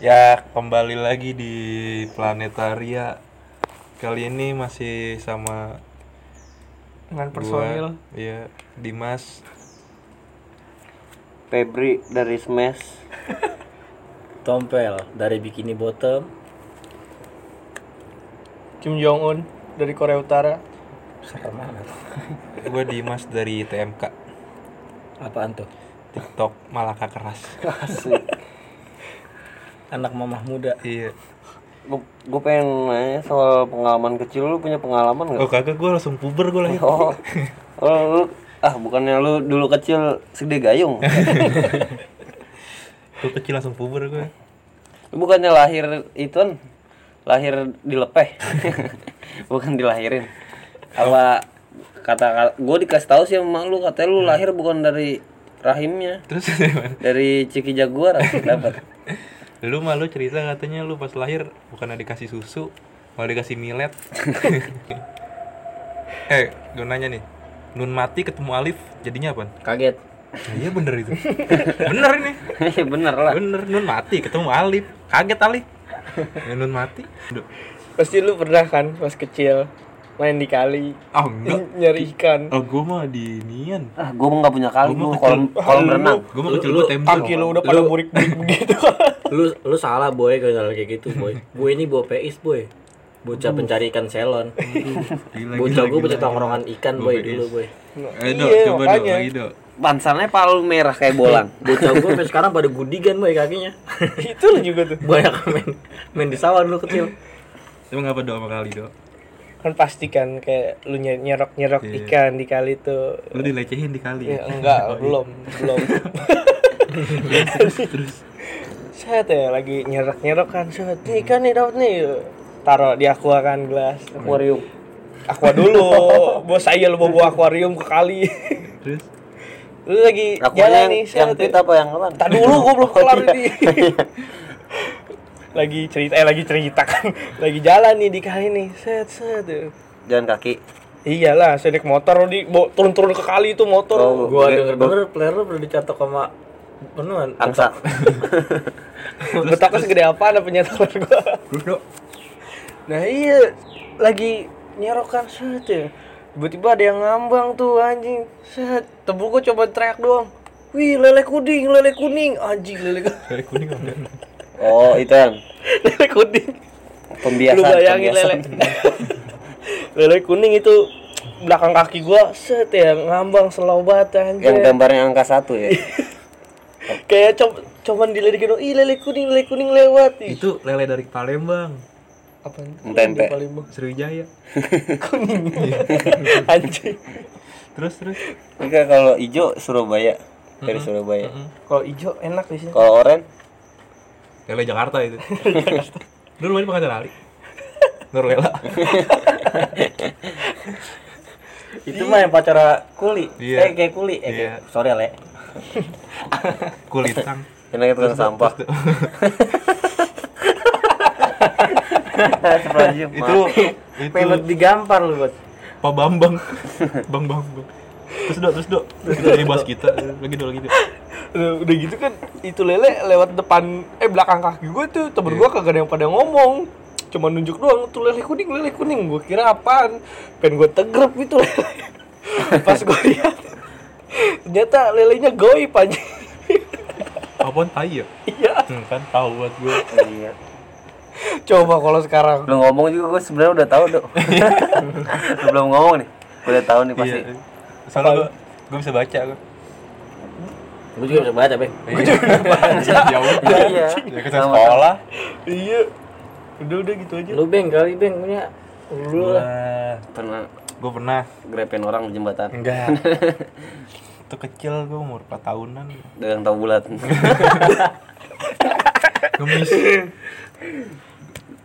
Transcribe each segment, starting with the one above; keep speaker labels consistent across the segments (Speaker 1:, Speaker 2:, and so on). Speaker 1: Ya kembali lagi di Planetaria Kali ini masih sama
Speaker 2: dengan
Speaker 1: gua,
Speaker 2: personil
Speaker 1: Iya Dimas
Speaker 3: Febri dari Smash
Speaker 4: Tompel dari Bikini Bottom
Speaker 2: Kim Jong Un dari Korea Utara
Speaker 4: serem amat.
Speaker 1: Gue Dimas dari TMK
Speaker 4: Apaan tuh?
Speaker 1: TikTok Malaka Keras
Speaker 3: asik
Speaker 4: Anak mamah muda.
Speaker 1: Iya
Speaker 3: gue pengen nanya soal pengalaman kecil lu punya pengalaman nggak
Speaker 1: Oh kagak gue langsung puber gue lahir
Speaker 3: oh lu, lu ah bukannya lu dulu kecil segede gayung
Speaker 1: Gue kecil langsung puber gue
Speaker 3: lu bukannya lahir itu lahir dilepeh bukan dilahirin apa kata gue dikasih tahu sih sama lu katanya lu lahir bukan dari rahimnya
Speaker 1: Terus
Speaker 3: dari ciki jaguar dapat
Speaker 1: Lu malu cerita katanya lu pas lahir Bukan dikasih susu Malah dikasih milet Eh gue nanya nih Nun mati ketemu Alif jadinya apa?
Speaker 4: Kaget.
Speaker 1: iya bener itu Bener ini
Speaker 3: Iya, bener lah
Speaker 1: Bener, Nun mati ketemu Alif Kaget Alif ya, Nun mati Duh.
Speaker 2: pasti lu pernah kan pas kecil main di kali
Speaker 1: Ah enggak
Speaker 2: nyari ikan
Speaker 1: Oh gue mah di Nian
Speaker 3: ah gue nggak punya kali
Speaker 1: Gua
Speaker 3: gue
Speaker 1: mau
Speaker 3: kolam kolam renang
Speaker 1: Gue mah kecil gue tembok
Speaker 2: Ah, kaki lu udah pada burik-burik gitu. begitu
Speaker 4: Lu lu salah boy kalau salah kayak gitu boy. Gue ini bawa peis boy. Bocah pencari ikan selon.
Speaker 1: Gila,
Speaker 4: Bocah gue bocah tongkrongan ikan boy dulu boy.
Speaker 1: Eh dok,
Speaker 2: Iya,
Speaker 1: coba dok,
Speaker 2: makanya.
Speaker 1: lagi dok
Speaker 3: pansannya palu merah kayak bolang
Speaker 4: Bocah gue sampai sekarang pada gudigan boy kakinya.
Speaker 2: itu lu juga tuh
Speaker 4: Banyak main main di sawah dulu kecil.
Speaker 1: Emang apa dok sama kali dok?
Speaker 2: kan pasti kan kayak lu nye- nyerok-nyerok
Speaker 1: Iya. Oh,
Speaker 2: ikan di kali tuh
Speaker 1: Lu dilecehin di kali
Speaker 2: ya, enggak
Speaker 1: iya.
Speaker 2: belum belum
Speaker 1: Terus, terus
Speaker 2: set ya lagi nyerok-nyerok kan set nih ikan nih dapat nih taruh di aqua kan gelas
Speaker 3: akuarium
Speaker 2: aqua dulu bos saya lu bawa akuarium ke kali
Speaker 1: Terus
Speaker 2: lu lagi jalan
Speaker 3: akuarium
Speaker 2: nih
Speaker 3: yang,
Speaker 2: set
Speaker 3: yang
Speaker 2: ya.
Speaker 3: pit apa yang Iya. kapan
Speaker 2: Tak dulu gue belum kelar ini. lagi cerita eh lagi cerita kan. Lagi jalan nih di kali nih. Set set.
Speaker 3: jalan kaki
Speaker 2: Iyalah, saya naik motor di bawa- turun-turun ke kali itu motor.
Speaker 3: Oh.
Speaker 4: Gue denger denger player lu pernah dicatok sama penuhan.
Speaker 3: angsa
Speaker 2: Betapa segede apa ada penyetor gua.
Speaker 1: Terus dok
Speaker 2: Nah, iya lagi nyerokan set ya. Tiba-tiba ada yang ngambang tuh anjing. Set, tebu gua coba teriak doang. Wih, lele kuning, lele kuning, anjing lele kuning.
Speaker 1: Kayak kuning apa?
Speaker 3: oh itu yang
Speaker 2: lele kuning.
Speaker 3: pembiasan
Speaker 2: lu bayangin lele
Speaker 3: pembiasan.
Speaker 2: lele kuning itu belakang kaki gua set ya ngambang selobat
Speaker 3: yang
Speaker 2: anjir
Speaker 4: Iya.
Speaker 3: gambarnya angka satu ya
Speaker 2: kayak co- cuman dilirikin doang, ih lele kuning lele kuning lewat ih
Speaker 1: Itu lele dari Palembang
Speaker 2: apa
Speaker 3: Tempe.
Speaker 1: Sriwijaya
Speaker 2: kuning anjing
Speaker 1: Terus terus
Speaker 3: Enggak kan kalau hijau Surabaya
Speaker 4: Mm-hmm.
Speaker 3: dari Surabaya
Speaker 2: kalau hijau enak di sini
Speaker 3: kalau oranye
Speaker 1: Lele Jakarta itu Dulu main pengacara lari Nur Lela
Speaker 4: Itu mah yang pacara kuli.
Speaker 1: Iya.
Speaker 4: Eh kayak kuli. Eh,
Speaker 1: Iya.
Speaker 4: kayak- sorry le.
Speaker 1: Kulitang
Speaker 3: enaknya tukang sampah
Speaker 1: itu itu
Speaker 4: Pengen digampar lu buat.
Speaker 1: Pak Bambang Bang Bang Bang terus dok terus dok dari bahas kita lagi dok lagi dok
Speaker 2: Nah, udah gitu kan itu lele lewat depan eh belakang kaki gue tuh temen gue kagak ada yang pada ngomong cuma nunjuk doang tuh lele kuning lele kuning gue kira apaan pengen gue tegrep gitu lele pas gue lihat ternyata lelenya goib aja
Speaker 1: apaan tai ya
Speaker 2: iya
Speaker 1: hmm, kan tahu buat gue
Speaker 3: iya
Speaker 2: coba kalau sekarang
Speaker 3: belum ngomong juga gue sebenarnya udah tahu dok Lu belum ngomong nih gue udah tahu nih
Speaker 1: iya
Speaker 3: pasti
Speaker 1: soalnya gue gue bisa baca gue
Speaker 4: Gue juga bisa baca, Bang.
Speaker 1: ya udah
Speaker 3: Iya.
Speaker 1: ya ke sekolah
Speaker 2: iya udah udah gitu aja
Speaker 4: Lu Bang kali Bang punya lu lah.
Speaker 3: pernah
Speaker 1: gue pernah
Speaker 3: grepin orang di jembatan
Speaker 1: enggak itu kecil gue umur 4 tahunan
Speaker 3: dengan tahu bulat
Speaker 1: ngemis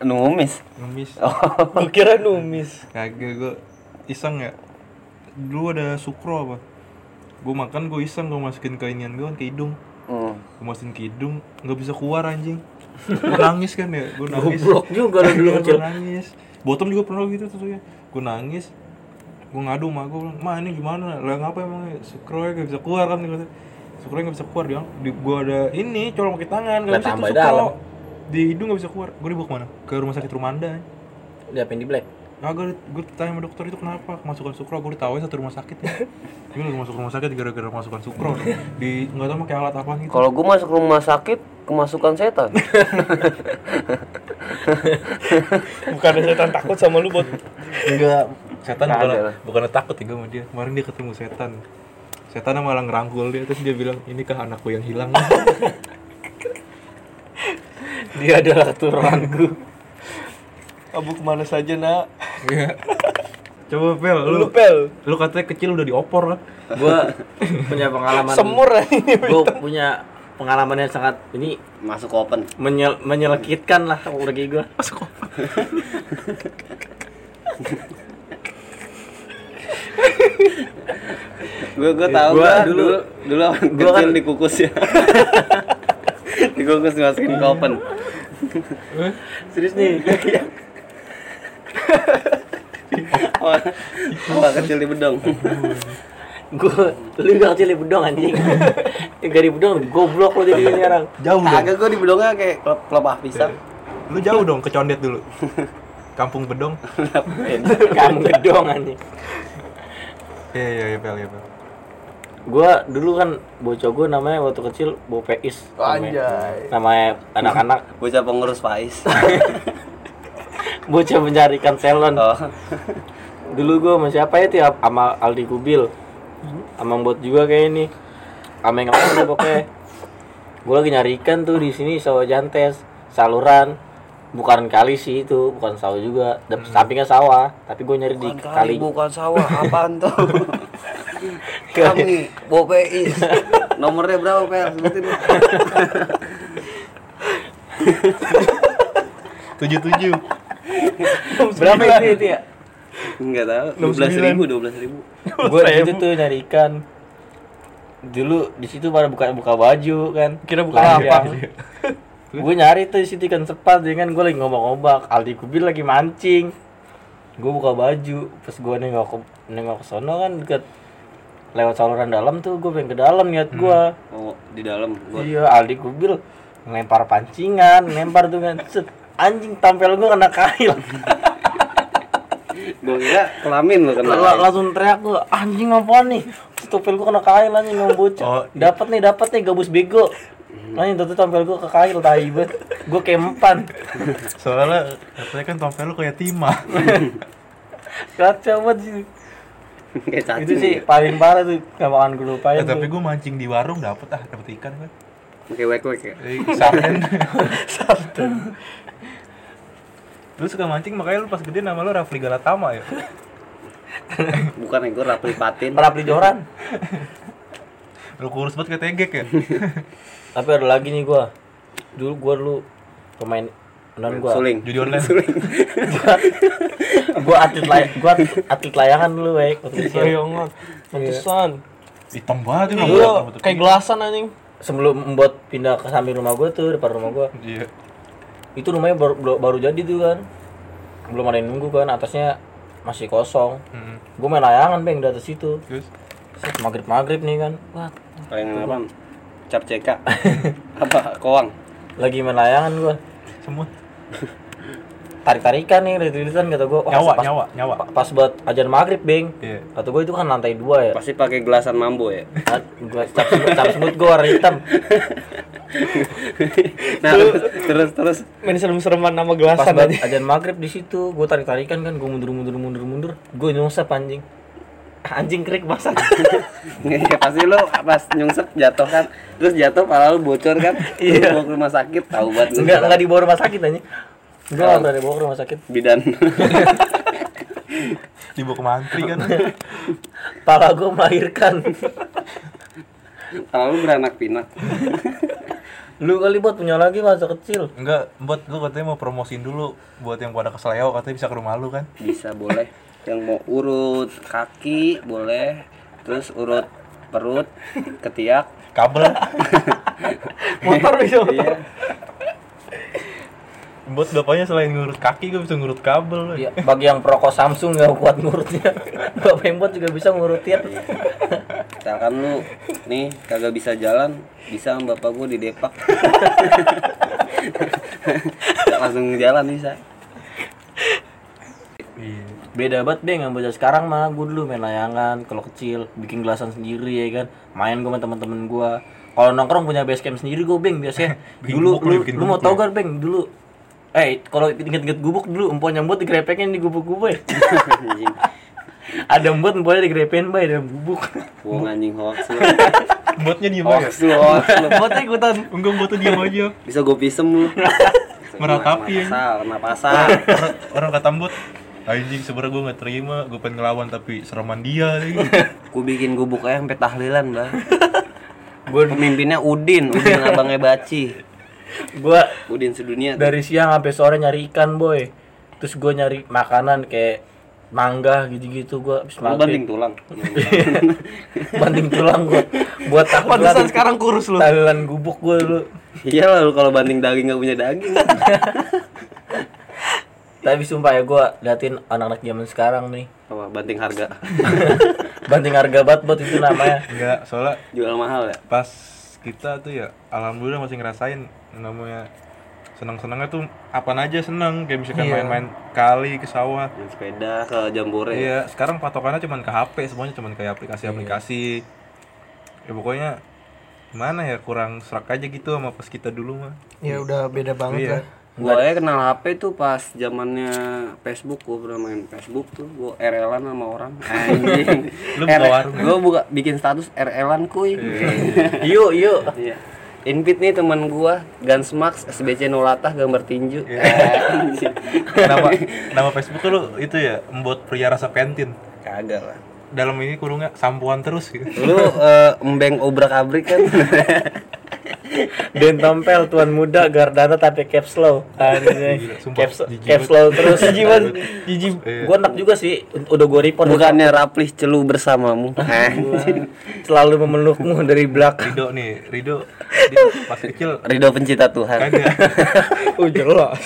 Speaker 3: nungumis
Speaker 1: ngemis
Speaker 2: gue kira numis
Speaker 1: kagak gue iseng ya dulu ada sukro apa gue makan gue iseng gue masukin ke inian gue ke hidung
Speaker 3: hmm.
Speaker 1: gue masukin ke hidung nggak bisa keluar anjing gue nangis kan ya gue nangis
Speaker 4: Goblok juga lu dulu
Speaker 1: Iya,
Speaker 4: kecil.
Speaker 1: gua nangis bottom juga pernah gitu tuh ya gue nangis gue ngadu sama gue bilang ma ini gimana lah ngapa emang sukro gak bisa keluar kan gue sukro gak bisa keluar dia bilang, di, gue ada ini colong pakai tangan gak
Speaker 4: Lah,
Speaker 1: bisa tuh
Speaker 4: tambah
Speaker 1: sukro
Speaker 4: dalam.
Speaker 1: di hidung nggak bisa keluar gue dibawa kemana ke rumah sakit Rumanda ya. anjing.
Speaker 4: Diapain di black?
Speaker 1: Nah, gue, gue tanya sama dokter itu kenapa kemasukan sukro, gue ditawain satu rumah sakit ya. Gue lagi masuk rumah sakit gara-gara kemasukan sukro Di, nggak tau pakai alat apa gitu
Speaker 3: Kalau gue masuk rumah sakit, kemasukan setan.
Speaker 2: Bukan setan takut sama lu buat
Speaker 1: Enggak, setan
Speaker 3: Nggak
Speaker 1: bukan,
Speaker 3: ada lah.
Speaker 1: bukan takut ya gue sama dia Kemarin dia ketemu setan Setan malah ngerangkul dia, terus dia bilang, ini kah anakku yang hilang
Speaker 2: dia adalah keturunanku. Abu kemana saja nak?
Speaker 1: Iya. Coba Pel, lu,
Speaker 2: Lu pel,
Speaker 1: lu katanya kecil udah diopor kan
Speaker 4: Gua punya pengalaman.
Speaker 2: semur ya ini.
Speaker 4: Gua punya pengalaman yang sangat ini
Speaker 3: Masuk open.
Speaker 4: menyel, menyelekitkan lah lagi gua.
Speaker 3: Gue gue tahu
Speaker 4: Gua
Speaker 3: gua
Speaker 4: dulu-
Speaker 3: dulu dulu
Speaker 4: gua
Speaker 3: gue kecil dikukus ya. dikukus dimasukin ke open.
Speaker 4: Serius nih.
Speaker 3: Awal awal Oh, kecil di bedong.
Speaker 4: gua lu gak kecil di bedong anjing. Enggak di bedong goblok lu jadi sekarang.
Speaker 1: Jauh dong,
Speaker 3: Agak gue di bedongnya kayak ah, klep klepah pisang.
Speaker 1: lu jauh dong ke Condet dulu Kampung Bedong
Speaker 4: Kamu bedong anjing.
Speaker 1: Iya, iya, iya Pel, iya Pel
Speaker 4: Gua dulu kan bocah gua namanya waktu kecil Bopeis. Namanya,
Speaker 2: Anjay.
Speaker 4: namanya anak-anak
Speaker 3: Bocah pengurus Pais.
Speaker 4: bocah mencarikan selon.
Speaker 3: Oh.
Speaker 4: dulu gue sama siapa ya tiap sama Aldi Kubil sama Mbot juga kayak ini sama yang lain deh pokoknya gue lagi nyari ikan tuh di sini sawah jantes saluran bukan kali sih itu bukan sawah juga Dap- sampingnya sawah tapi gue nyari di kali
Speaker 3: bukan sawah, apaan tuh? Kami Bopeis. Nomornya berapa, Pel? Sebutin.
Speaker 1: Tujuh tujuh
Speaker 4: berapa itu itu ya
Speaker 3: Enggak tahu. 12.000, ribu, 12 ribu.
Speaker 4: gue itu tuh nyari ikan dulu di situ pada buka buka baju kan
Speaker 2: Kira buka lapak.
Speaker 4: gue nyari tuh di situ ikan sepat dengan gue lagi ngobak-ngobak Aldi Kubil lagi mancing gue buka baju pas gue nengok ke nengok ke sono kan deket lewat saluran dalam tuh gue pengen ke dalam niat
Speaker 2: Hmm.
Speaker 4: gue
Speaker 3: Oh, di dalam. Gua
Speaker 4: iya Aldi Kubil ngelempar pancingan ngelempar tuh kan Set, anjing tampil gue kena kail
Speaker 3: Gua kira kelamin kan. lo kena.
Speaker 4: Lah- langsung teriak gue anjing apaan nih Terus tampil gue kena kail anjing yang bocah
Speaker 1: Oh,
Speaker 4: dapat nih dapat nih gabus bego anjing tuh tampil gue ke kail tai banget gue kayak empan
Speaker 1: Soalnya katanya kan tompel lu kayak timah
Speaker 4: kacau banget sih
Speaker 3: Kayak cacing. ya.
Speaker 4: itu sih paling parah tuh gak bakalan gue lupain
Speaker 1: Eh, tapi
Speaker 4: tuh.
Speaker 1: gue mancing di warung dapet ah, dapet ikan kan
Speaker 3: Kayak wek-wek ya.
Speaker 1: Eh, sarden Lu suka mancing makanya lu pas gede nama lu Rafli Galatama ya
Speaker 3: Bukan ya, gua rapli patin.
Speaker 4: Merapli joran
Speaker 1: Lu kurus banget kayak tegek ya
Speaker 4: tapi ada lagi nih gua dulu gua dulu pemain non gua
Speaker 3: Suling.
Speaker 1: Judi online.
Speaker 3: Suling.
Speaker 4: gua atlet lay gua atlet layangan dulu baik waktu kecil.
Speaker 2: Bayangan.
Speaker 4: Iya.
Speaker 2: Pantesan.
Speaker 1: Hitam banget emang
Speaker 2: Lu
Speaker 1: rambut-
Speaker 2: Iya. kayak gelasan anjing.
Speaker 4: sebelum membuat pindah ke samping rumah gua tuh depan rumah gua
Speaker 1: Iya
Speaker 4: itu rumahnya baru baru- baru jadi tuh kan belum ada yang nunggu kan atasnya masih kosong
Speaker 1: Mm,
Speaker 4: gua main layangan beng di atas situ
Speaker 1: Terus
Speaker 4: Set, maghrib maghrib nih kan Wah,
Speaker 3: Paling apa? Cap CK. apa? Koang.
Speaker 4: lagi main layangan gua
Speaker 1: semut
Speaker 4: tarik tarikan nih rilit-rilitan kata gua Wah,
Speaker 1: nyawa
Speaker 4: pas-
Speaker 1: nyawa nyawa
Speaker 4: pa- pas buat ajan maghrib beng
Speaker 1: Iya.
Speaker 4: Kata gue itu kan lantai dua ya.
Speaker 3: Pasti pakai gelasan mambo ya.
Speaker 4: Nah, Gua cap semut, cap semut gue warna hitam.
Speaker 3: nah, terus terus terus
Speaker 2: Main serem-sereman nama
Speaker 4: Pas
Speaker 2: gelasan
Speaker 4: banget
Speaker 2: anjing.
Speaker 4: ajan maghrib di situ, gue tarik tarikan kan, gue mundur mundur mundur mundur, gue nyungsep anjing. Anjing krik basah.
Speaker 3: Iya, pasti lo pas nyungsep jatuh kan. Terus jatuh pala lu bocor kan. Iya. Bawa ke rumah sakit tahu banget lu.
Speaker 4: enggak enggak dibawa rumah sakit anjing. Gue nggak pernah dibawa ke rumah sakit.
Speaker 3: bidan.
Speaker 1: dibawa ke mantri kan
Speaker 4: Pala gue melahirkan.
Speaker 3: Pala lu beranak pinak.
Speaker 4: Lu kali buat punya lagi masa kecil.
Speaker 1: enggak buat lu katanya mau promosiin dulu buat yang pada kesleo katanya bisa ke rumah lu kan
Speaker 3: Bisa boleh. Yang mau urut kaki boleh. Terus urut perut, ketiak.
Speaker 1: kabel
Speaker 2: Motor bisa.
Speaker 3: Iya.
Speaker 1: buat bapaknya selain ngurut kaki gue bisa ngurut kabel
Speaker 4: Ya, bagi yang perokok Samsung nggak kuat ngurutnya. Gak pembot juga bisa ngurutin.
Speaker 3: Misalkan lu nih kagak bisa jalan, bisa sama bapak gua di depak. langsung jalan bisa
Speaker 4: beda banget deh nggak bocah sekarang mah gue dulu main layangan kalau kecil bikin gelasan sendiri ya kan main gue sama teman-teman gue kalau nongkrong punya base camp sendiri gue beng biasanya
Speaker 1: Bikin
Speaker 4: dulu
Speaker 1: gubuk lu,
Speaker 4: lu,
Speaker 1: bikin
Speaker 4: lu mau
Speaker 1: gubuk
Speaker 4: tau
Speaker 1: lu.
Speaker 4: gak beng dulu eh kalau inget-inget gubuk dulu empon nyambut digrepekin di gubuk gue
Speaker 3: anjing
Speaker 4: ada empon empon digrepekin bay dalam gubuk
Speaker 3: bohong anjing hoax lu
Speaker 1: Buatnya diem aja.
Speaker 3: hoax lu hoax lu
Speaker 4: empotnya ikutan
Speaker 1: Enggak buatnya diem aja.
Speaker 3: bisa gue pisem lu
Speaker 1: Meratapi, ya.
Speaker 3: pasar kena pasar
Speaker 1: Orang- Orang kata mbut anjing sebenernya gue nggak terima, gue pengen ngelawan tapi sereman dia.
Speaker 3: gue bikin gubuk aja sampai tahlilan bah pemimpinnya Udin Udin abangnya Baci
Speaker 4: gue
Speaker 3: Udin sedunia tuh.
Speaker 4: dari siang sampai sore nyari ikan boy terus gue nyari makanan kayak mangga gitu-gitu gue habis
Speaker 3: lu
Speaker 4: maghrib
Speaker 3: banting tulang
Speaker 4: banting tulang gue buat
Speaker 2: Pantesan
Speaker 4: tahlilan
Speaker 2: sekarang kurus lu.
Speaker 4: tahlilan gubuk gue dulu
Speaker 3: iya lah lu kalau banting daging nggak punya daging
Speaker 4: tapi sumpah ya gue liatin anak-anak zaman sekarang nih
Speaker 3: apa banting harga
Speaker 4: banting harga bat buat itu namanya
Speaker 1: Enggak, soalnya
Speaker 3: jual mahal ya
Speaker 1: pas kita tuh ya alhamdulillah masih ngerasain yang namanya senang-senangnya tuh apa aja seneng kayak misalkan main-main kali ke sawah
Speaker 3: Main sepeda ke jambore
Speaker 1: Iya, sekarang patokannya cuman ke HP, semuanya cuman kayak aplikasi-aplikasi. Ya pokoknya gimana ya kurang serak aja gitu sama pas kita dulu mah.
Speaker 2: Ya udah beda
Speaker 4: Iya.
Speaker 2: banget lah.
Speaker 3: Gua aja kenal HP tuh pas zamannya Facebook, gua pernah main Facebook tuh, gua RL-an sama orang. Anjing.
Speaker 1: Lu buka
Speaker 3: RL
Speaker 1: warung ya? Iya.
Speaker 3: Gua buka bikin status RL-an kuy.
Speaker 4: yuk yuk
Speaker 3: Iya. Invite nih teman gua, Gunsmax SBC Nolatah gambar tinju. Anjing.
Speaker 1: Iya. Nama nama Facebook tuh lu itu ya membuat pria rasa pentin.
Speaker 3: Kagak lah.
Speaker 1: Dalam ini kurungnya sampuan terus gitu.
Speaker 3: Lu eh, embeng obrak-abrik kan.
Speaker 4: Den Tompel tuan muda Gardana tapi caps low
Speaker 1: Gila,
Speaker 4: anjing
Speaker 1: sumpah,
Speaker 4: caps
Speaker 1: jijik
Speaker 4: caps low terus jijiman jijik gue enak juga sih udah gue report
Speaker 3: Bukannya Raplis celu bersamamu. Anjing.
Speaker 4: selalu memelukmu dari belakang
Speaker 1: Rido nih, Rido dia pas kecil
Speaker 3: Ridho pencinta Tuhan.
Speaker 1: kagak
Speaker 4: oh jelas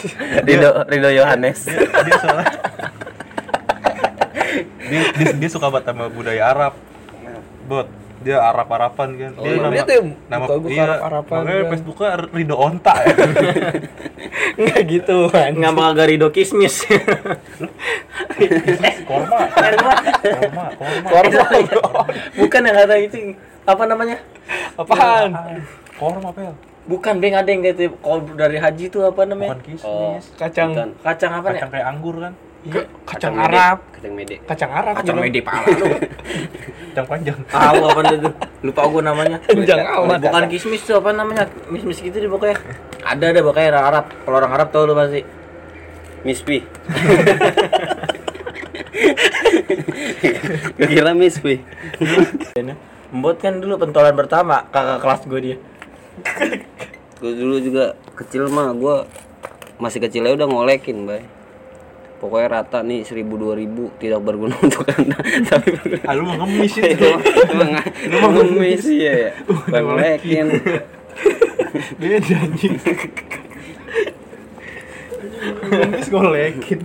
Speaker 3: Ridho Ridho Yohanes.
Speaker 1: dia, dia soalnya dia, dia, dia suka banget sama budaya Arab bot dia Arab Arapan kan dia
Speaker 4: iya. Dia tuh yang buka gua ke
Speaker 1: iya,
Speaker 4: Arab-Arapan
Speaker 1: makanya
Speaker 4: kan.
Speaker 1: Facebooknya Rido Onta ya.
Speaker 4: nggak gitu nggak mau agak ridho kismis
Speaker 1: korma korma korma
Speaker 4: korma bukan yang kata itu apa namanya apaan
Speaker 1: korma pel
Speaker 4: bukan beng ada yang gitu kalau dari haji tuh apa namanya
Speaker 1: bukan kismis
Speaker 3: Oh,
Speaker 2: Kacang
Speaker 3: bukan.
Speaker 4: kacang apa ya
Speaker 1: kacang kayak anggur kan
Speaker 2: iya, kacang
Speaker 3: mede.
Speaker 2: Arab,
Speaker 3: Kacang mede.
Speaker 2: kacang Arab.
Speaker 3: Kacang
Speaker 2: bilang.
Speaker 3: mede parah lu.
Speaker 1: kacang panjang
Speaker 4: tahu apa itu lupa gue namanya
Speaker 2: Panjang amat.
Speaker 4: Oh, bukan kismis tuh apa namanya mismis gitu deh pokoknya ada ada pokoknya orang Arab kalau orang Arab tau lu pasti
Speaker 3: Miss P. Gua kira Miss P.
Speaker 4: Mbot kan dulu pentolan pertama kakak kelas gue dia
Speaker 3: Gue dulu juga kecil mah gua masih kecil aja udah ngolekin, Bay. Pokoknya rata nih 1000 2000 tidak berguna untuk Anda, tapi berguna.
Speaker 1: ah lu mau ngemis itu
Speaker 3: Itu mah- itu mah ngemis ya. ya. Bang ngolekin.
Speaker 1: dia janji ngemis ngolekin